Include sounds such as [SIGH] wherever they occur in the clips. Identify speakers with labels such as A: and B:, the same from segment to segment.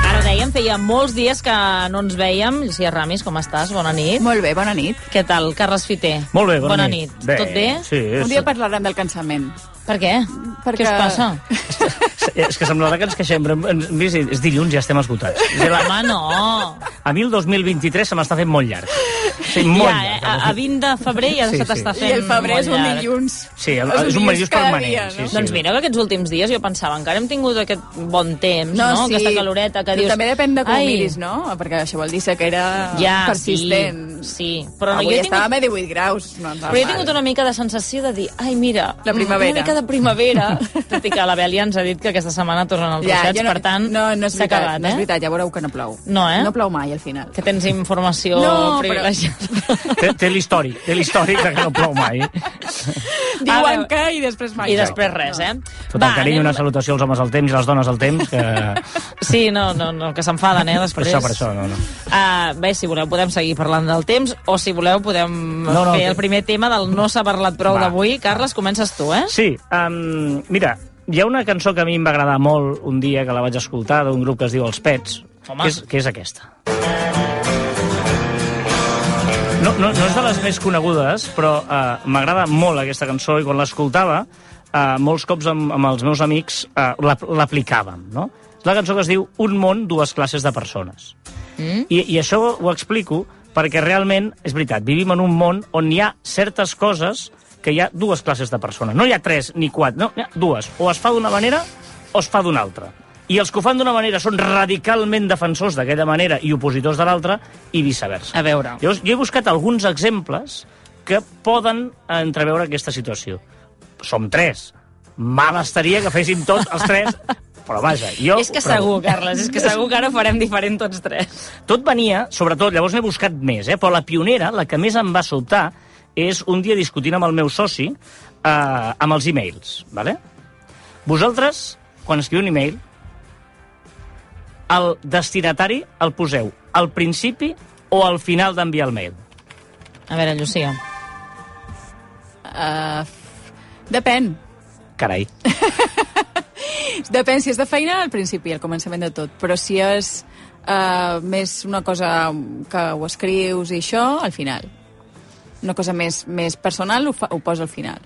A: Ara ho dèiem, feia molts dies que no ens vèiem. Lucía Ramis, com estàs? Bona nit.
B: Molt bé, bona nit.
A: Què tal, Carles Fiter?
C: Molt bé, bona,
A: bona nit.
C: Bé,
A: Tot bé?
C: Sí, és,
B: Un dia parlarem del cansament.
A: Per què?
B: Perquè-
A: Què us
C: [LAUGHS]
A: passa?
C: és que semblarà que ens queixem, però hem- hem vist, és dilluns i ja estem esgotats. És a dir,
A: Home, no.
C: A mi el 2023 se m'està fent molt llarg. Sí, molt
A: ja, eh,
C: llarg.
A: a, a 20 de febrer ja
C: Sí,
A: se
C: sí.
A: t'està
B: I
A: fent
B: el febrer és
A: molt
B: un
A: llarg.
B: dilluns.
C: Sí, el- és un
B: dilluns
C: dilluns
B: cada
C: permanent.
B: dia, no?
C: sí, sí.
A: Doncs mira que aquests últims dies jo pensava encara hem tingut aquest bon temps, no?
B: sí.
A: Aquesta caloreta que
B: Però
A: dius...
B: També depèn de com
A: "Ai,
B: ho miris, no? Perquè això vol dir que era
A: Ja,
B: persistent.
A: sí, sí. Però no,
B: Avui
A: jo he
B: estàvem
A: tingut-
B: a 18 graus. No,
A: Però jo he tingut una mica de sensació de dir, ai, mira,
B: La primavera.
A: una mica de
B: [LAUGHS]
A: primavera, tot i que la Bèlia ens ha dit que aquesta setmana tornen els ja, ruixats,
B: jo no,
A: per tant,
B: no, no és
A: s'ha
B: veritat,
A: acabat,
B: no és
A: eh?
B: veritat, ja veureu que no plou.
A: No, eh?
B: No plou mai, al final.
A: Que tens informació
B: No, però-
A: privilegiada.
C: Té, té l'històric, té l'històric de que no plou mai.
B: Diuen
A: veure.
B: que i després mai.
A: I després res, eh?
C: Tot el carinyo, una salutació als homes al temps i les dones al temps, que...
A: Sí, no, no, no que s'enfaden, eh,
C: Per
A: després.
C: això, per això, no, no.
A: Uh, bé, si voleu podem seguir parlant del temps o si voleu podem no,
C: No,
A: no,
C: no,
A: fer
C: que-
A: el primer tema del no s'ha parlat prou
C: Va.
A: d'avui. Carles, comences tu, eh?
C: Sí, um, mira, hi ha una cançó que a mi em va agradar molt un dia que la vaig escoltar d'un grup que es diu Els Pets,
A: Home.
C: que és, que és aquesta. No, no, no és de les més conegudes, però uh, m'agrada molt aquesta cançó i quan l'escoltava, uh, molts cops amb, amb els meus amics uh, l'aplicàvem, no? És la cançó que es diu Un món, dues classes de persones. I, I això ho explico perquè realment, és veritat, vivim en un món on hi ha certes coses que hi ha dues classes de persones. No hi ha tres ni quatre, no, hi ha dues. O es fa d'una manera o es fa d'una altra. I els que ho fan d'una manera són radicalment defensors d'aquella manera i opositors de l'altra i viceversa.
A: A veure.
C: Llavors, jo he buscat alguns exemples que poden entreveure aquesta situació. Som tres. Mal estaria que féssim tots els
A: [LAUGHS]
C: tres, però vaja, jo...
A: és que
C: ho provo.
A: segur, Carles, és que segur que ara ho farem diferent tots tres.
C: Tot venia, sobretot, llavors n'he buscat més, eh? però la pionera, la que més em va sobtar, és un dia discutint amb el meu soci eh, amb els e-mails. ¿vale? Vosaltres, quan escriu un e-mail, el destinatari el poseu al principi o al final d'enviar el mail.
A: A veure, Llucia.
B: Uh, depèn.
A: [LAUGHS]
C: Carai.
B: Depèn si és de feina al principi, al començament de tot, però si és uh, més una cosa que ho escrius i això, al final. Una cosa més, més personal ho, fa, ho poso al
A: [LAUGHS]
B: final.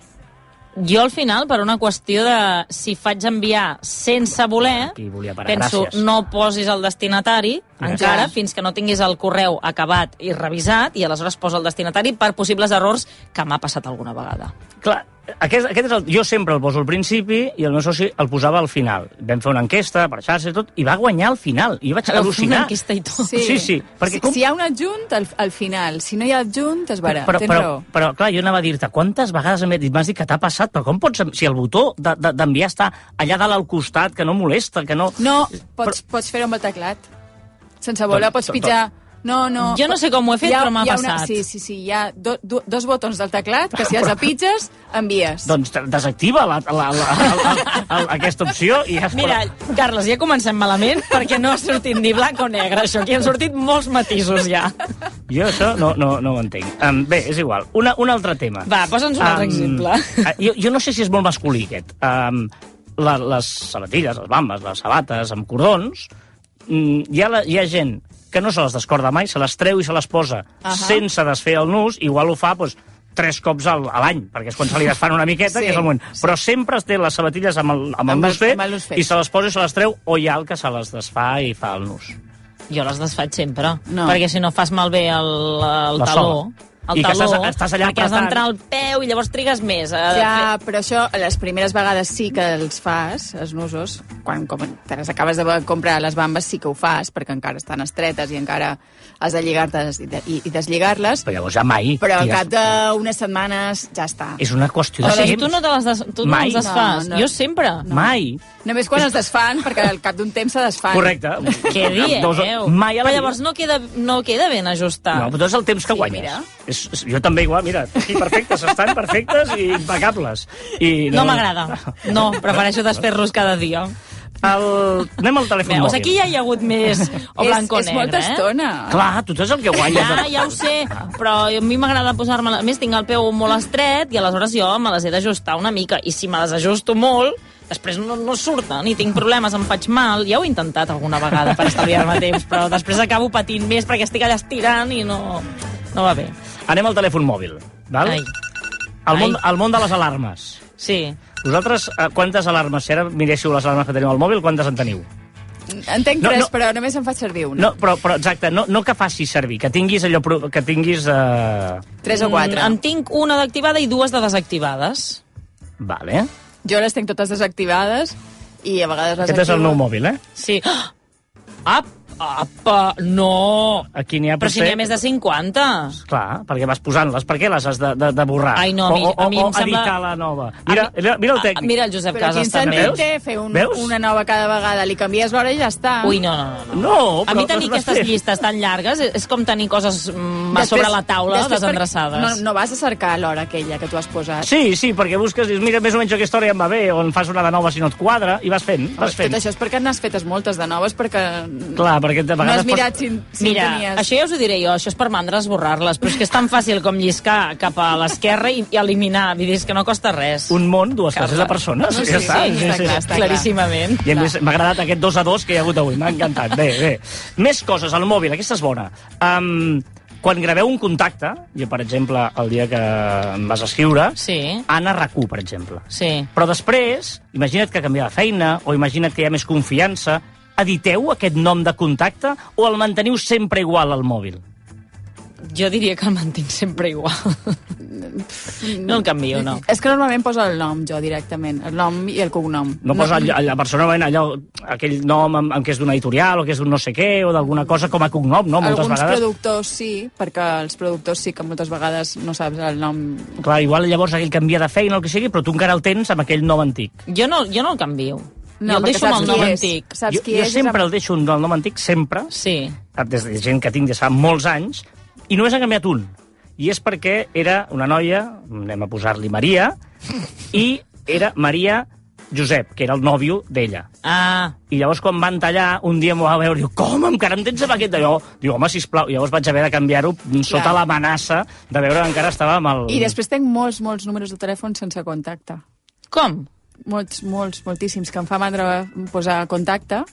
A: Jo al final, per una qüestió de si faig enviar sense voler,
C: Aquí Ah, volia parar,
A: penso
C: gràcies.
A: no posis el destinatari
C: Gràcies.
A: encara fins que no tinguis el correu acabat i revisat i aleshores poso el destinatari per possibles errors que m'ha passat alguna vegada.
C: Clar, aquest, aquest és el, jo sempre el poso al principi i el meu soci el posava al final. Vam fer una enquesta per xarxa i tot, i va guanyar al final. I jo vaig
A: Una
C: al·lucinar.
A: enquesta i tot.
C: Sí, sí, perquè
B: si,
C: com-
B: si hi ha un adjunt, al, al final. Si no hi ha adjunt, es barà.
C: però,
B: Tens
C: però,
B: raó.
C: però, clar, jo anava a dir-te, quantes vegades m'he dit, m'has dit que t'ha passat, però com pots, si el botó de- de- d'enviar està allà dalt al costat, que no molesta, que no...
B: No, pots, pots fer-ho amb el teclat. Sense voler,
C: Doncs,
B: pots
C: doncs,
B: pitjar... No, no.
A: Jo no sé com ho he fet, però m'ha
B: hi ha
A: passat.
B: sí, sí, sí, hi ha do, do, dos botons del teclat que
C: [LAUGHS]
B: si els apitges, envies.
C: Doncs de- desactiva la, la, la, la, la, aquesta opció i ja es
A: Mira, Carles, ja comencem malament perquè no ha sortit ni blanc o negre, això. Aquí han sortit molts matisos, ja.
C: Jo això no, no, no ho entenc. Um, bé, és igual. Una, un altre tema.
A: Va, posa'ns un altre exemple.
C: ah, Jo, jo no sé si és molt masculí, aquest. Um, la, les sabatilles, les bambes, les sabates amb cordons, mm, hi, ha la, hi ha gent que no se les descorda mai, se les treu i se les posa uh
B: Ahà.
C: -huh. sense desfer el nus, igual ho fa doncs, tres cops al, a l'any, perquè és quan se li desfan una miqueta,
B: [LAUGHS] Sí,
C: sí, que és el moment. Però sempre es té les sabatilles amb el,
B: Amb
C: amb el,
B: el-
C: nus fet,
B: amb el nus fet.
C: i se les posa i se les treu, o hi ha el que se les desfà i fa el nus.
A: Jo les desfaig sempre,
B: No.
A: perquè si no fas malbé el, el
C: La
A: taló...
C: sola.
A: El
C: I que
A: taló,
C: estàs- estàs allà
A: perquè has d'entrar al
C: apretant.
A: peu i llavors trigues més. Eh, A
B: Ja, però això, les primeres vegades sí que els fas, els nusos, quan com, te les acabes de comprar les bambes sí que ho fas, perquè encara estan estretes i encara has de lligar-te i, de- i, i deslligar-les,
C: Però llavors ja mai...
B: però al
C: tires-
B: cap d'unes setmanes ja està.
C: És una
A: O
C: qüestió de
A: sigui,
C: temps.
A: tu no te les des, tu no
C: Mai.
A: les desfas.
B: No, no.
A: Jo sempre.
C: Mai.
B: Només quan es desfan, perquè al cap d'un temps se desfan.
C: Correcte.
A: Què dieu?
C: Dos, mai a
A: Però
C: la
A: llavors no queda, no queda ben ajustat.
C: No, però tot és el temps que
B: Sí,
C: guanyes.
B: mira.
C: És, és, jo també igual, mira, aquí perfectes, estan perfectes i impecables. I
A: No m'agrada. No, prefereixo desfer-los cada dia.
C: El... Anem al telèfon
A: Veus,
C: mòbil.
A: aquí ja hi ha hagut més o blanc o
B: [LAUGHS] és, és molta
A: negre, eh?
B: estona.
C: Clar, tu saps el que guanyes.
A: Ja, Ah, ja ho sé, però a mi m'agrada posar-me... la- A més, tinc el peu molt estret i aleshores jo me les he d'ajustar una mica. I si me les ajusto molt, després no, no surten i tinc problemes, em faig mal. Ja ho he intentat alguna vegada per estalviar-me temps, però després acabo patint més perquè estic allà estirant i no, no va bé.
C: Anem al telèfon mòbil. Val?
A: Ai,
C: El, món,
A: ai.
C: el món de les alarmes.
A: sí.
C: Vosaltres, eh, quantes alarmes? Si ara miréssiu les alarmes que teniu al mòbil, quantes en teniu?
B: En tenc
C: No,
B: tres,
C: no.
B: però només em faig servir una.
C: No, però, però exacte, no, no que facis servir, que tinguis allò... pro- Que tinguis... Eh...
B: Tres o quatre.
A: Mm, en tinc una d'activada i dues de desactivades.
C: Vale.
B: Jo les tenc totes desactivades i a vegades les
C: Aquest és el
B: activo.
C: nou mòbil, eh?
A: Sí. Ah, Ap, apa, no!
C: Aquí n'hi ha...
A: Però si n'hi ha més de 50.
C: Clar, perquè vas posant-les. Per què les has de, de, de borrar?
A: Ai, no, a
C: o,
A: mi-
C: o,
A: a mi
C: o
A: em sembla-
C: editar la nova. Mira, mira, mira el
A: Ah,
C: tècnic.
A: Mira el Josep
B: Però quin
A: Casas també.
B: sentit
C: Veus?
B: té fer un,
C: Veus?
B: una nova cada vegada? Li canvies l'hora i ja està.
A: Ui, no, no, no.
C: No,
A: a
C: però
A: mi tenir
C: les vas
A: aquestes
C: fer.
A: llistes tan llargues és, és com tenir coses mm, a
B: Després-
A: sobre la taula
B: després per-
A: desendreçades.
B: No, no vas a cercar l'hora aquella que tu has posat.
C: Sí, sí, perquè busques, dius, mira, més o menys aquesta hora ja em va bé, o en fas una de nova si no et quadra, i vas fent, vas fent.
B: Tot això és perquè n'has fetes moltes de noves, perquè
C: Clar, perquè de
B: no
C: vegades...
B: has mirat si, si
A: Mira,
B: tenies...
A: això ja us ho diré jo, això és per mandra esborrar-les, però és que és tan fàcil com lliscar cap a l'esquerra i, i eliminar, vull dir, és que no costa res.
C: Un món, dues classes de
A: Carles.
C: persones,
B: No,
C: ja
B: sí,
C: està.
B: sí, està clar, està clar.
A: Claríssimament.
C: I a més, m'ha agradat aquest dos a dos que hi ha hagut avui, m'ha encantat. Bé, bé. Més coses al mòbil, aquesta és bona. Um, quan graveu un contacte, jo, per exemple, el dia que em vas escriure,
A: Sí,
C: Anna Racú, per exemple.
A: sí.
C: Però després, imagina't que canvia de feina, o imagina't que hi ha més confiança, editeu aquest nom de contacte o el manteniu sempre igual al mòbil?
A: Jo diria que el mantinc sempre igual. No el canvio, no.
B: És que normalment posa el nom, jo, directament. El nom i el cognom.
C: No posa allò, allò, personalment allò, aquell nom amb, amb què és d'una editorial o que és d'un no sé què o d'alguna cosa com a cognom, no? Moltes
B: Alguns
C: vegades...
B: productors sí, perquè els productors sí que moltes vegades no saps el nom.
C: Clar, igual llavors aquell canvia de feina o el que sigui, però tu encara el tens amb aquell nom antic.
A: Jo no, jo no el canvio.
B: No,
A: jo el
B: perquè
A: deixo amb el
B: saps qui
A: nom
B: és.
A: antic.
B: Saps
C: jo,
B: qui
C: jo
B: és, és
C: sempre
B: amb-
C: el deixo amb el nom antic, sempre,
A: Sí.
C: des de gent que tinc des fa molts anys, i només ha canviat un. I és perquè era una noia, anem a posar-li Maria, i era Maria Josep, que era el nòvio d'ella.
A: Ah,
C: I llavors quan van tallar, un dia m'ho va veure i diu, com, encara em tens amb aquest d'allò? Diu, home, sisplau. I llavors vaig haver de canviar-ho sota
B: Clar.
C: l'amenaça de veure que encara estava amb el...
B: I després tenc molts, molts números de telèfon sense contacte.
A: com?
B: Molts, molts, moltíssims, que em fa mandra posar contacte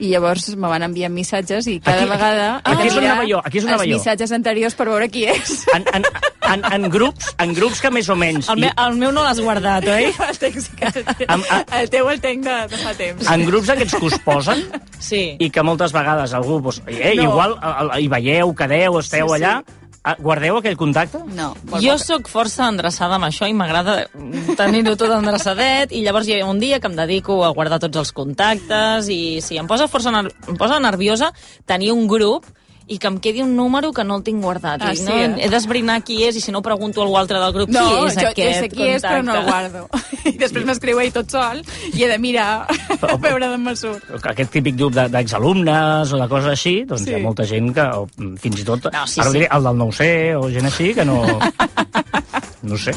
B: i llavors me van enviar missatges i cada
C: Aquí-
B: vegada...
C: aquí- aquí és on
B: mirar
C: anava jo, aquí és on anava
B: els
C: jo.
B: missatges anteriors per veure qui
C: [LAUGHS]
B: és.
C: En, en, en, en, grups, en grups que més o menys...
A: El, me, el meu no l'has guardat, oi?
B: El text que-
C: Am- a-
B: el teu el tenc de, de fa temps.
C: En grups aquests que us posen
A: Sí.
C: i que moltes vegades algú... Doncs, eh,
B: No.
C: Igual el- hi veieu, quedeu, esteu
B: Sí, sí.
C: allà... Ah, Guardeu aquell contacte?
B: No,
A: Jo sóc força endreçada amb això i m'agrada tenir-ho tot endreçadet i llavors hi ha un dia que em dedico a guardar tots els contactes i sí, em posa força ner em posa nerviosa tenir un grup i que em quedi un número que no el tinc guardat.
B: Ah,
A: Dic,
B: sí,
A: no,
B: eh?
A: he d'esbrinar qui és i si no pregunto a algú altre del grup
B: No,
A: qui és
B: jo,
A: aquest
B: jo sé qui és, però no el
A: contacte.
B: guardo. [LAUGHS] I després m'escriu ahir tot sol i he de
C: [LAUGHS]
B: mirar a veure d'on me surt.
C: aquest típic grup de- d'exalumnes o de coses així, doncs
B: Sí.
C: hi ha molta gent que, o, mm, fins i tot,
A: No, sí,
C: ara ho
A: sí.
C: diré, el del 9C o gent així, que
B: [LAUGHS]
C: no... no ho sé.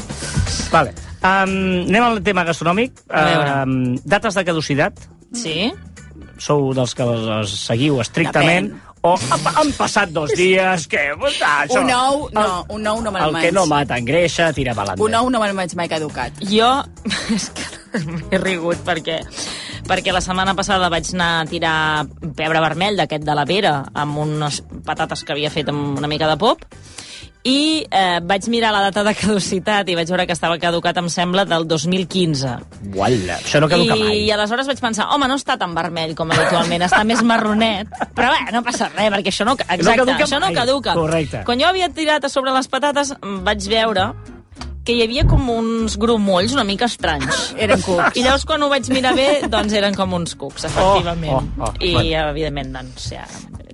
C: Vale. Um, anem al tema gastronòmic.
A: A veure.
C: Um, dates de caducitat.
A: Sí?
C: Sou dels que les, les seguiu estrictament. O han, han passat dos dies, que... Això,
B: Un ou, no, un ou no me'l
C: el que
B: vaig.
C: no mata engreixa, tira balant.
B: Un ou no me'l vaig mai caducat.
A: Jo [LAUGHS] és que m'he rigut perquè perquè la setmana passada vaig anar a tirar pebre vermell d'aquest de la Vera amb unes patates que havia fet amb una mica de pop i eh, vaig mirar la data de caducitat i vaig veure que estava caducat, em sembla, del 2015.
C: Uala, això no caduca
A: I,
C: mai.
A: I aleshores vaig pensar, home, no està tan vermell com habitualment, està més marronet, però bé, no passa res, perquè això no, ca- exacte,
C: caduca
A: això no
C: mai.
A: caduca.
C: Correcte.
A: Quan jo havia tirat a sobre les patates, em vaig veure que hi havia com uns grumolls una mica estranys.
B: Eren cucs.
A: I llavors, quan ho vaig mirar bé, doncs eren com uns cucs, efectivament.
C: Oh, oh, oh,
A: I,
C: bueno.
A: evidentment, doncs, ja,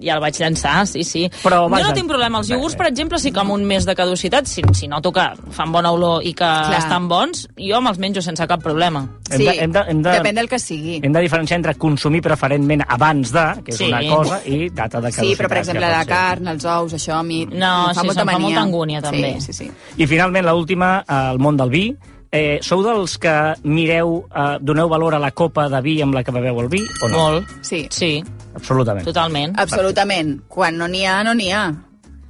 A: ja el vaig llançar, sí, sí.
C: Però,
A: jo
C: vaja.
A: no tinc problema. Els
C: Bé,
A: iogurts,
C: bé.
A: per exemple, sí que amb un mes de caducitat, si, si noto que fan bona olor i que Clar. estan bons, jo me'ls menjo sense cap problema.
C: Hem de- hem de- hem de-
B: Depèn del que sigui.
C: Hem de diferenciar entre consumir preferentment abans de, que és
A: Sí.
C: una cosa, i data de caducitat.
B: Sí, però per exemple
C: que pot
B: la
C: ser.
B: carn, els ous, això a mi
A: No,
B: em fa
A: sí,
B: molta
A: se'm fa
B: mania.
A: molta angúnia, també.
B: Sí, sí, sí.
C: I finalment, l última, al món del vi. Eh, sou dels que mireu, eh, doneu valor a la copa de vi amb la que beveu el vi o no?
A: Molt.
B: Sí.
A: Sí,
C: Absolutament.
A: totalment.
B: Absolutament. Quan no n'hi ha, no n'hi ha.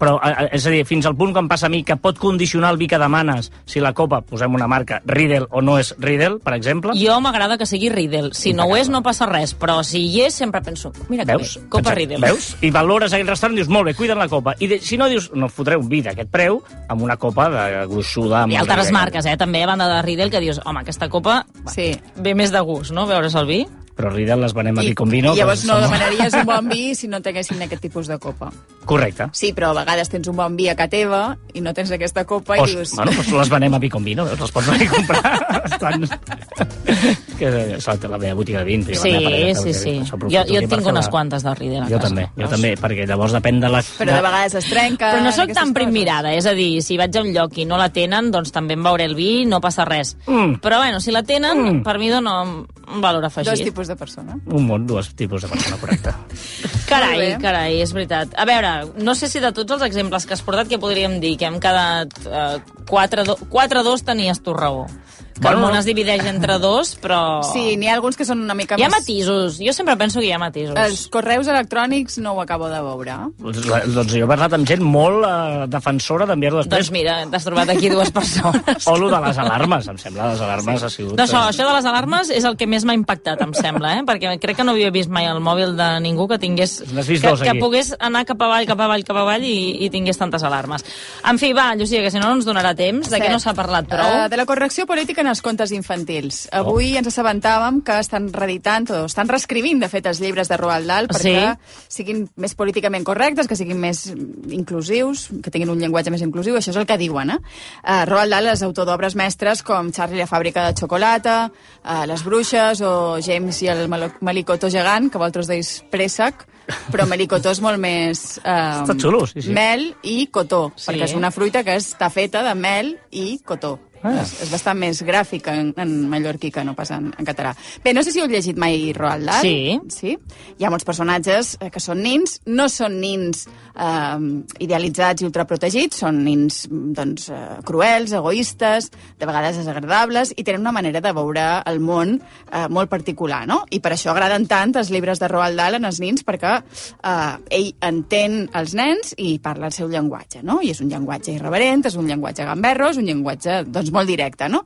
C: Però, eh, és a dir, fins al punt que em passa a mi que pot condicionar el vi que demanes si la copa, posem una marca, Riedel o no és Riedel, per exemple.
A: Jo m'agrada que sigui Riddle. Si no ho és, no passa res, però si hi és, sempre penso, mira que
C: Veus?
A: bé, copa
C: Exacte.
A: Riddle.
C: Veus? I valores aquell restaurant i dius, molt bé, cuida'n la copa. I de, si no, dius, no fotré un vi d'aquest preu amb una copa de gruixuda. amb
A: Hi ha
C: el
A: altres
C: Riedel.
A: marques, eh, també, a banda de Riddle, que dius, home, aquesta copa
B: Sí.
A: ve més de gust, no?, veure's el vi.
C: Però Riedel les venem a vi com vino.
B: llavors no
C: però són-
B: demanaries un bon vi si no tinguessin aquest tipus de copa.
C: Correcte.
B: Sí, però a vegades tens un bon vi a casa teva i no tens aquesta copa i
C: Pues,
B: dius...
C: bueno, doncs, pues les venem a vi com vino, veus? Les pots venir a comprar. [LAUGHS] Estan...
A: [LAUGHS]
C: que salta la meva botiga de vin. tio, la
A: Sí,
C: meva parella,
A: sí,
C: que-
A: sí.
C: això
A: Jo,
C: aprofito
A: jo
C: aquí
A: en
C: per
A: tinc
C: fer
A: unes
C: la-
A: quantes de Riddle a
C: Jo
A: casa.
C: també, jo
A: veus?
C: també, perquè llavors depèn de la...
B: Però de vegades es trenca...
A: Però no sóc tan primmirada, és a dir, si vaig a un lloc i no la tenen, doncs també em veuré el vi, no passa res.
C: Mm.
A: Però bueno, si la tenen, per mi dona un valor afegit.
B: Mm. Dos tipus de persona.
C: Un món, dos tipus de persona, correcte.
A: Carai,
B: Molt bé.
A: carai, és veritat. A veure, no sé si de tots els exemples que has portat que podríem dir que hem quedat eh, 4-2 tenies tu raó. Que
C: Bueno,
A: el món
C: no.
A: es divideix entre dos, però...
B: Sí, n'hi ha alguns que són una mica
A: Oh. Hi ha
B: més...
A: matisos. Jo sempre penso que hi ha matisos.
B: Els correus electrònics no ho acabo de veure.
C: Doncs, la- doncs jo he parlat amb gent molt eh, defensora d'enviar-ho després.
A: Doncs mira, t'has trobat aquí dues
C: [LAUGHS]
A: persones.
C: O lo de les alarmes, em sembla, les alarmes ha sigut...
A: No, això,
C: eh,
A: això de les alarmes és el que més m'ha impactat, em sembla, eh? perquè crec que no havia vist mai el mòbil de ningú que tingués...
C: N'has vist
A: que,
C: dos,
A: que
C: aquí.
A: pogués anar cap avall, cap avall, cap avall i, i tingués tantes alarmes. En fi, va, Llucia, que si no no ens donarà temps, de què
B: Cert.
A: no s'ha parlat prou. Oh.
B: Eh, de la correcció política en els contes infantils. Avui ens assabentàvem que estan reeditant o estan reescrivint, de fet, els llibres de Roald Dahl
A: Sí.
B: perquè siguin més políticament correctes, que siguin més inclusius, que tinguin un llenguatge més inclusiu, això és el que diuen. Eh? Eh, Roald Dahl és autor d'obres mestres com Charlie i la fàbrica de xocolata, eh, Les bruixes o James i el Malo- melicotó gegant, que vosaltres deis préssec, però melicotó és molt més... Eh,
C: Està xulo, sí, sí.
B: Mel i cotó,
A: Sí.
B: sí. perquè és una fruita que està feta de mel i cotó.
C: Ah.
B: Ah. És, és bastant més gràfic en, en mallorquí que no pas en, en català. Bé, no sé si heu llegit mai Roald Dahl.
A: Sí.
B: sí? Hi ha molts personatges eh, que són nins, no són nins eh, idealitzats i ultraprotegits, són nins mm, doncs, eh, cruels, egoistes, de vegades desagradables, i tenen una manera de veure el món eh, molt particular, no? I per això agraden tant els llibres de Roald Dahl en els nins, perquè eh, ell entén els nens i parla el seu llenguatge, no? I és un llenguatge irreverent, és un llenguatge gamberro, és un llenguatge doncs, molt directe, no?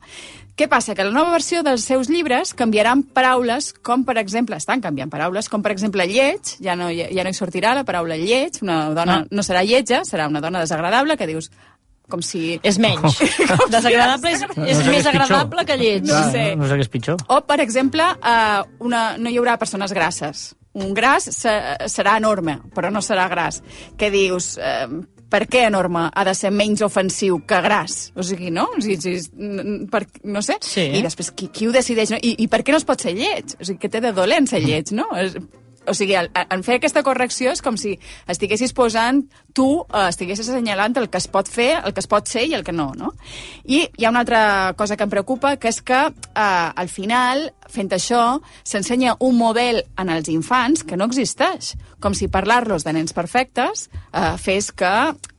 B: Què passa? Que la nova versió dels seus llibres canviaran paraules com, per exemple, estan canviant paraules, com, per exemple, lleig, ja no, hi- ja no hi sortirà la paraula lleig, una dona no, no serà lletja, serà una dona desagradable, que dius, com si...
A: És menys. [LAUGHS] Desagradable és, és
C: sé què
A: més
C: pitjor.
A: agradable que lleig.
B: No sé.
C: No, no sé què és pitjor.
B: O, per exemple, eh, una, no hi haurà persones grasses. Un gras se, serà enorme, però no serà gras. Què dius? Eh, per què enorme ha de ser menys ofensiu que gras? O sigui, no? O sigui, si, n- per, no sé.
A: Sí.
B: eh? I després, qui, qui ho decideix? No? I, I per què no es pot ser lleig? O sigui, què té de dolent ser lleig, no? És, o sigui, el- en fer aquesta correcció és com si estiguessis posant, tu eh, estiguessis assenyalant el que es pot fer, el que es pot ser i el que no, no? I hi ha una altra cosa que em preocupa, que és que eh, al final, fent això, s'ensenya un model en els infants que no existeix, com si parlar-los de nens perfectes eh, fes que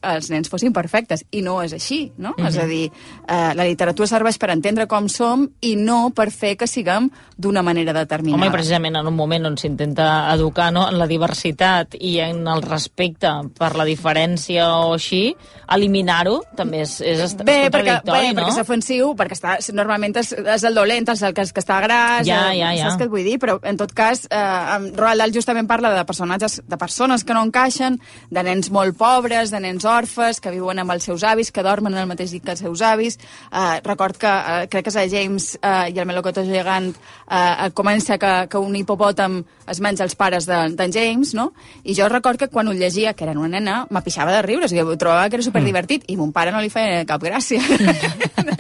B: els nens fossin perfectes, i no és així, no? Mm -hmm.
A: Mhm.
B: És a dir, eh, la literatura serveix per entendre com som i no per fer que siguem d'una manera determinada.
A: Home, i precisament en un moment on s'intenta educar no, en la diversitat i en el respecte per la diferència o així, eliminar-ho també és, és, est- és
B: Bé, perquè, bé,
A: contradictori,
B: perquè és
A: no?
B: ofensiu, perquè està, normalment és, és el dolent, és el que, que està gras, cas,
A: Ja,
B: eh,
A: ja, ja.
B: saps què et vull dir? Però, en tot cas, eh, en Roald Dahl justament parla de personatges, de persones que no encaixen, de nens molt pobres, de nens orfes, que viuen amb els seus avis, que dormen en el mateix llit que els seus avis. Eh, record que, eh, crec que és a James eh, i el melocotó gegant, eh, comença que, que un hipopòtam es menja els pares de- d'en de, James, no? I jo record que quan ho llegia, que era una nena, me pixava de riure, o sigui, ho trobava que era superdivertit, i mon pare no li feia cap gràcia. [LAUGHS]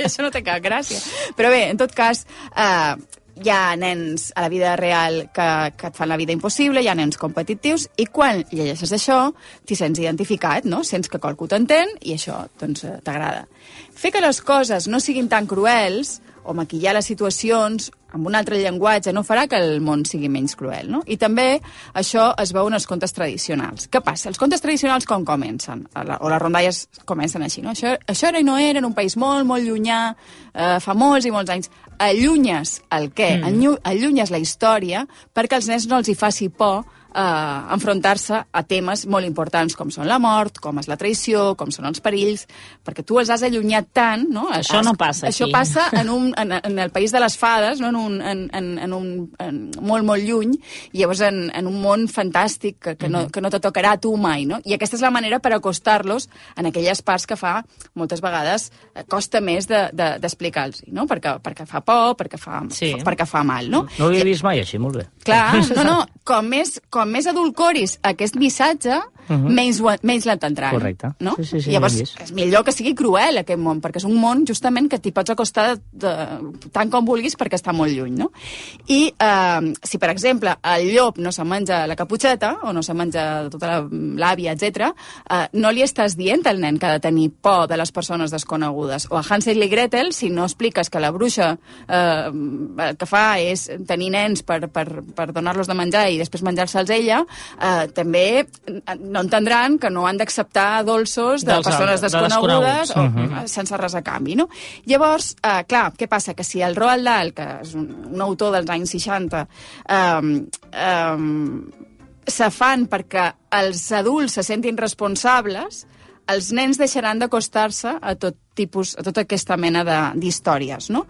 B: Això no té cap gràcia. Però bé, en tot cas, eh, hi ha nens a la vida real que, que et fan la vida impossible, hi ha nens competitius, i quan llegeixes això, t'hi sents identificat, no? Sents que qualcú t'entén i això doncs, eh, t'agrada. Fer que les coses no siguin tan cruels o maquillar les situacions amb un altre llenguatge no farà que el món sigui menys cruel, no? I també això es veu en els contes tradicionals. Què passa? Els contes tradicionals com comencen? A la- O les rondalles comencen així, no? Això, això era i no era, en un país molt, molt llunyà, eh, fa molts i molts anys. Allunyes el què? Mm. Allunyes la història perquè als nens no els hi faci por eh, enfrontar-se a temes molt importants com són la mort, com és la traïció, com són els perills, perquè tu els has allunyat tant... No?
A: Això
B: Has-
A: no passa
B: Això
A: aquí.
B: passa passa en, un, en, en el país de les fades, no? en un, en, en, en un en, molt, molt lluny, i llavors en, en un món fantàstic que, que,
C: Mm-hmm.
B: no, que no te tocarà a tu mai. No? I aquesta és la manera per acostar-los en aquelles parts que fa moltes vegades eh, costa més de- de- d'explicar-los, de, no? perquè, perquè fa por, perquè fa,
A: Sí.
B: fa, perquè fa mal. No?
C: No ho havia vist mai així, molt bé. [LAUGHS]
B: Clar, no, no, com més, com més edulcoris aquest missatge, uh -huh. menys, ho- menys l'entendran.
C: Mm-hmm. Correcte.
B: No?
C: Sí, sí, sí,
B: Llavors,
C: ben vist.
B: és millor que sigui cruel aquest món, perquè és un món justament que t'hi pots acostar de, de, tant com vulguis perquè està molt lluny. No? I eh, si, per exemple, el llop no se menja la caputxeta o no se menja tota la- l'àvia, etc, eh, no li estàs dient al nen que ha de tenir por de les persones desconegudes. O a Hansel i Gretel, si no expliques que la bruixa eh, el que fa és tenir nens per, per, per donar-los de menjar i després menjar-se'ls ella, eh, també no entendran que no han d'acceptar dolços de
A: Dels
B: persones
A: altres, de Mhm.
B: desconegudes
A: desconeguts.
B: o, eh, sense res a canvi, no? Llavors, eh, clar, què passa? Que si el Roald Dahl, que és un, un autor dels anys 60, eh, eh, se fan perquè els adults se sentin responsables, els nens deixaran d'acostar-se a tot tipus, a tota aquesta mena de- d'històries, no?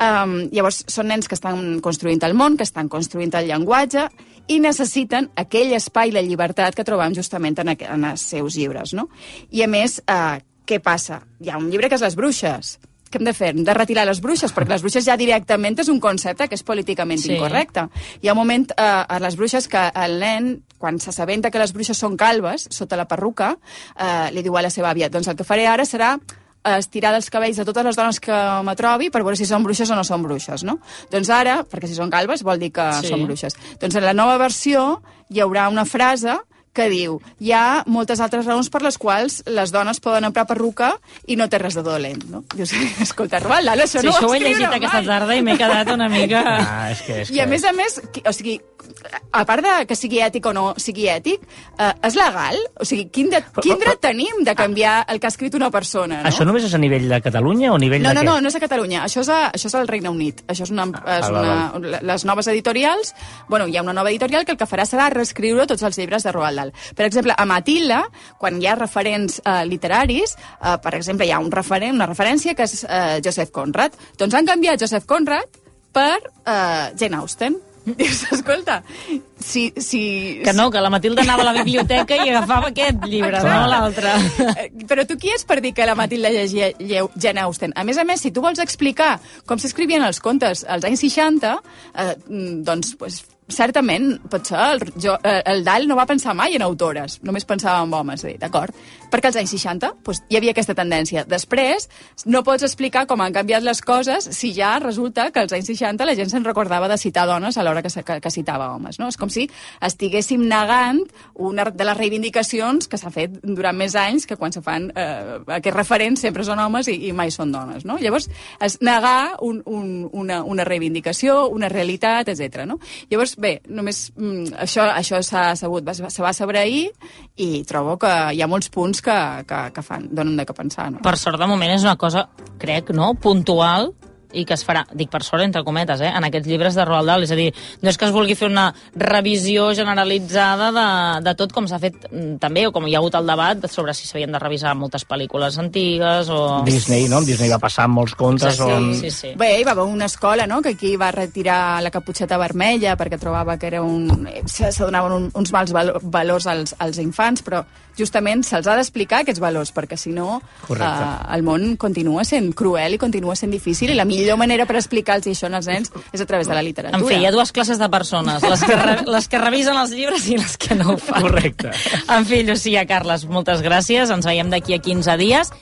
B: Um, llavors, són nens que estan construint el món, que estan construint el llenguatge i necessiten aquell espai, la llibertat que trobam justament en, aqu- en els seus llibres, no? I, a més, uh, què passa? Hi ha un llibre que és Les bruixes. Què hem de fer? Hem de retirar les bruixes, perquè les bruixes ja directament és un concepte que és políticament
A: Sí.
B: incorrecte correcte. Hi ha un moment eh, a les bruixes que el nen, quan s'assabenta que les bruixes són calves, sota la perruca, eh, li diu a la seva àvia, doncs el que faré ara serà eh, estirar dels cabells de totes les dones que me trobi per veure si són bruixes o no són bruixes, no? Doncs ara, perquè si són calves vol dir que
A: Sí.
B: sí. són bruixes. Doncs en la nova versió hi haurà una frase que diu hi ha moltes altres raons per les quals les dones poden emprar perruca i no té res de dolent, no? Dius, [LAUGHS] escolta, Roald, Dahl, això
A: Sí,
B: no
A: això ho he
B: escriure
A: llegit aquesta
B: mai.
A: tarda i m'he quedat una mica...
B: [LAUGHS]
C: Ah, és que... És
B: I a
C: que...
B: més a més, qui- o sigui, a part de que sigui ètic o no sigui ètic, eh, és legal? O sigui, quin, de, quin dret tenim de canviar el que ha escrit una persona, no?
C: Això només és a nivell de Catalunya o a nivell
B: no,
C: de
B: no,
C: què?
B: no, no és a Catalunya, això és, a, això és al Regne Unit. Això és una, és
C: val,
B: una, les noves editorials... Bueno, hi ha una nova editorial que el que farà serà reescriure tots els llibres de Roald Dahl. Per exemple, a Matilda, quan hi ha referents eh, literaris, eh, per exemple, hi ha un referent, una referència que és eh, Joseph Conrad. Doncs han canviat Joseph Conrad per eh, Jane Austen. [LAUGHS] Dius, escolta, si... si
A: Que no, que la Matilda anava a la biblioteca i agafava aquest llibre,
C: Exacte.
A: no l'altre.
B: Eh, Però tu qui és per dir que la Matilda llegia lleu Jane Austen? A més a més, si tu vols explicar com s'escrivien els contes als anys 60, eh, mm, doncs, pues, certament, potser el, jo, eh, el Dal no va pensar mai en autores, només pensava en homes, bé, d'acord? Perquè als anys 60 pues, hi havia aquesta tendència. Després, no pots explicar com han canviat les coses si ja resulta que als anys 60 la gent se'n recordava de citar dones a l'hora que, se- que, que citava homes, no? És com si estiguéssim negant una de les reivindicacions que s'ha fet durant més anys que quan se fan eh, aquests referents sempre són homes i, i mai són dones, no? Llavors, és negar un, un, una, una reivindicació, una realitat, etc. no? Llavors, bé, només mm, això, això s'ha sabut, va- se va saber ahir i trobo que hi ha molts punts que, que, que fan, donen de què pensar, no?
A: Per sort, de moment, és una cosa, crec, no?, puntual i que es farà, dic per sort, entre cometes, eh, en aquests llibres de Roald Dahl. És a dir, no és que es vulgui fer una revisió generalitzada de, de tot com s'ha fet mm, també, o com hi ha hagut el debat sobre si s'havien de revisar moltes pel·lícules antigues o...
C: Disney, no? Amb Disney va passar amb molts contes
A: Sí,
C: on...
A: sí, sí.
B: Bé, hi va haver una escola, no?, que aquí va retirar la caputxeta vermella perquè trobava que era un... eh, se, se donaven un, uns mals valo- valors als, als infants, però justament se'ls ha d'explicar aquests valors, perquè si no eh,
C: Correcte.
B: el món continua sent cruel i continua sent difícil, i la millor manera per explicar-los això als nens és a través de la literatura.
A: En fi, hi ha dues classes de persones, les que, re les que revisen els llibres i les que no ho fan.
C: Correcte.
A: En fi, Lucía, Carles, moltes gràcies. Ens veiem d'aquí a 15 dies.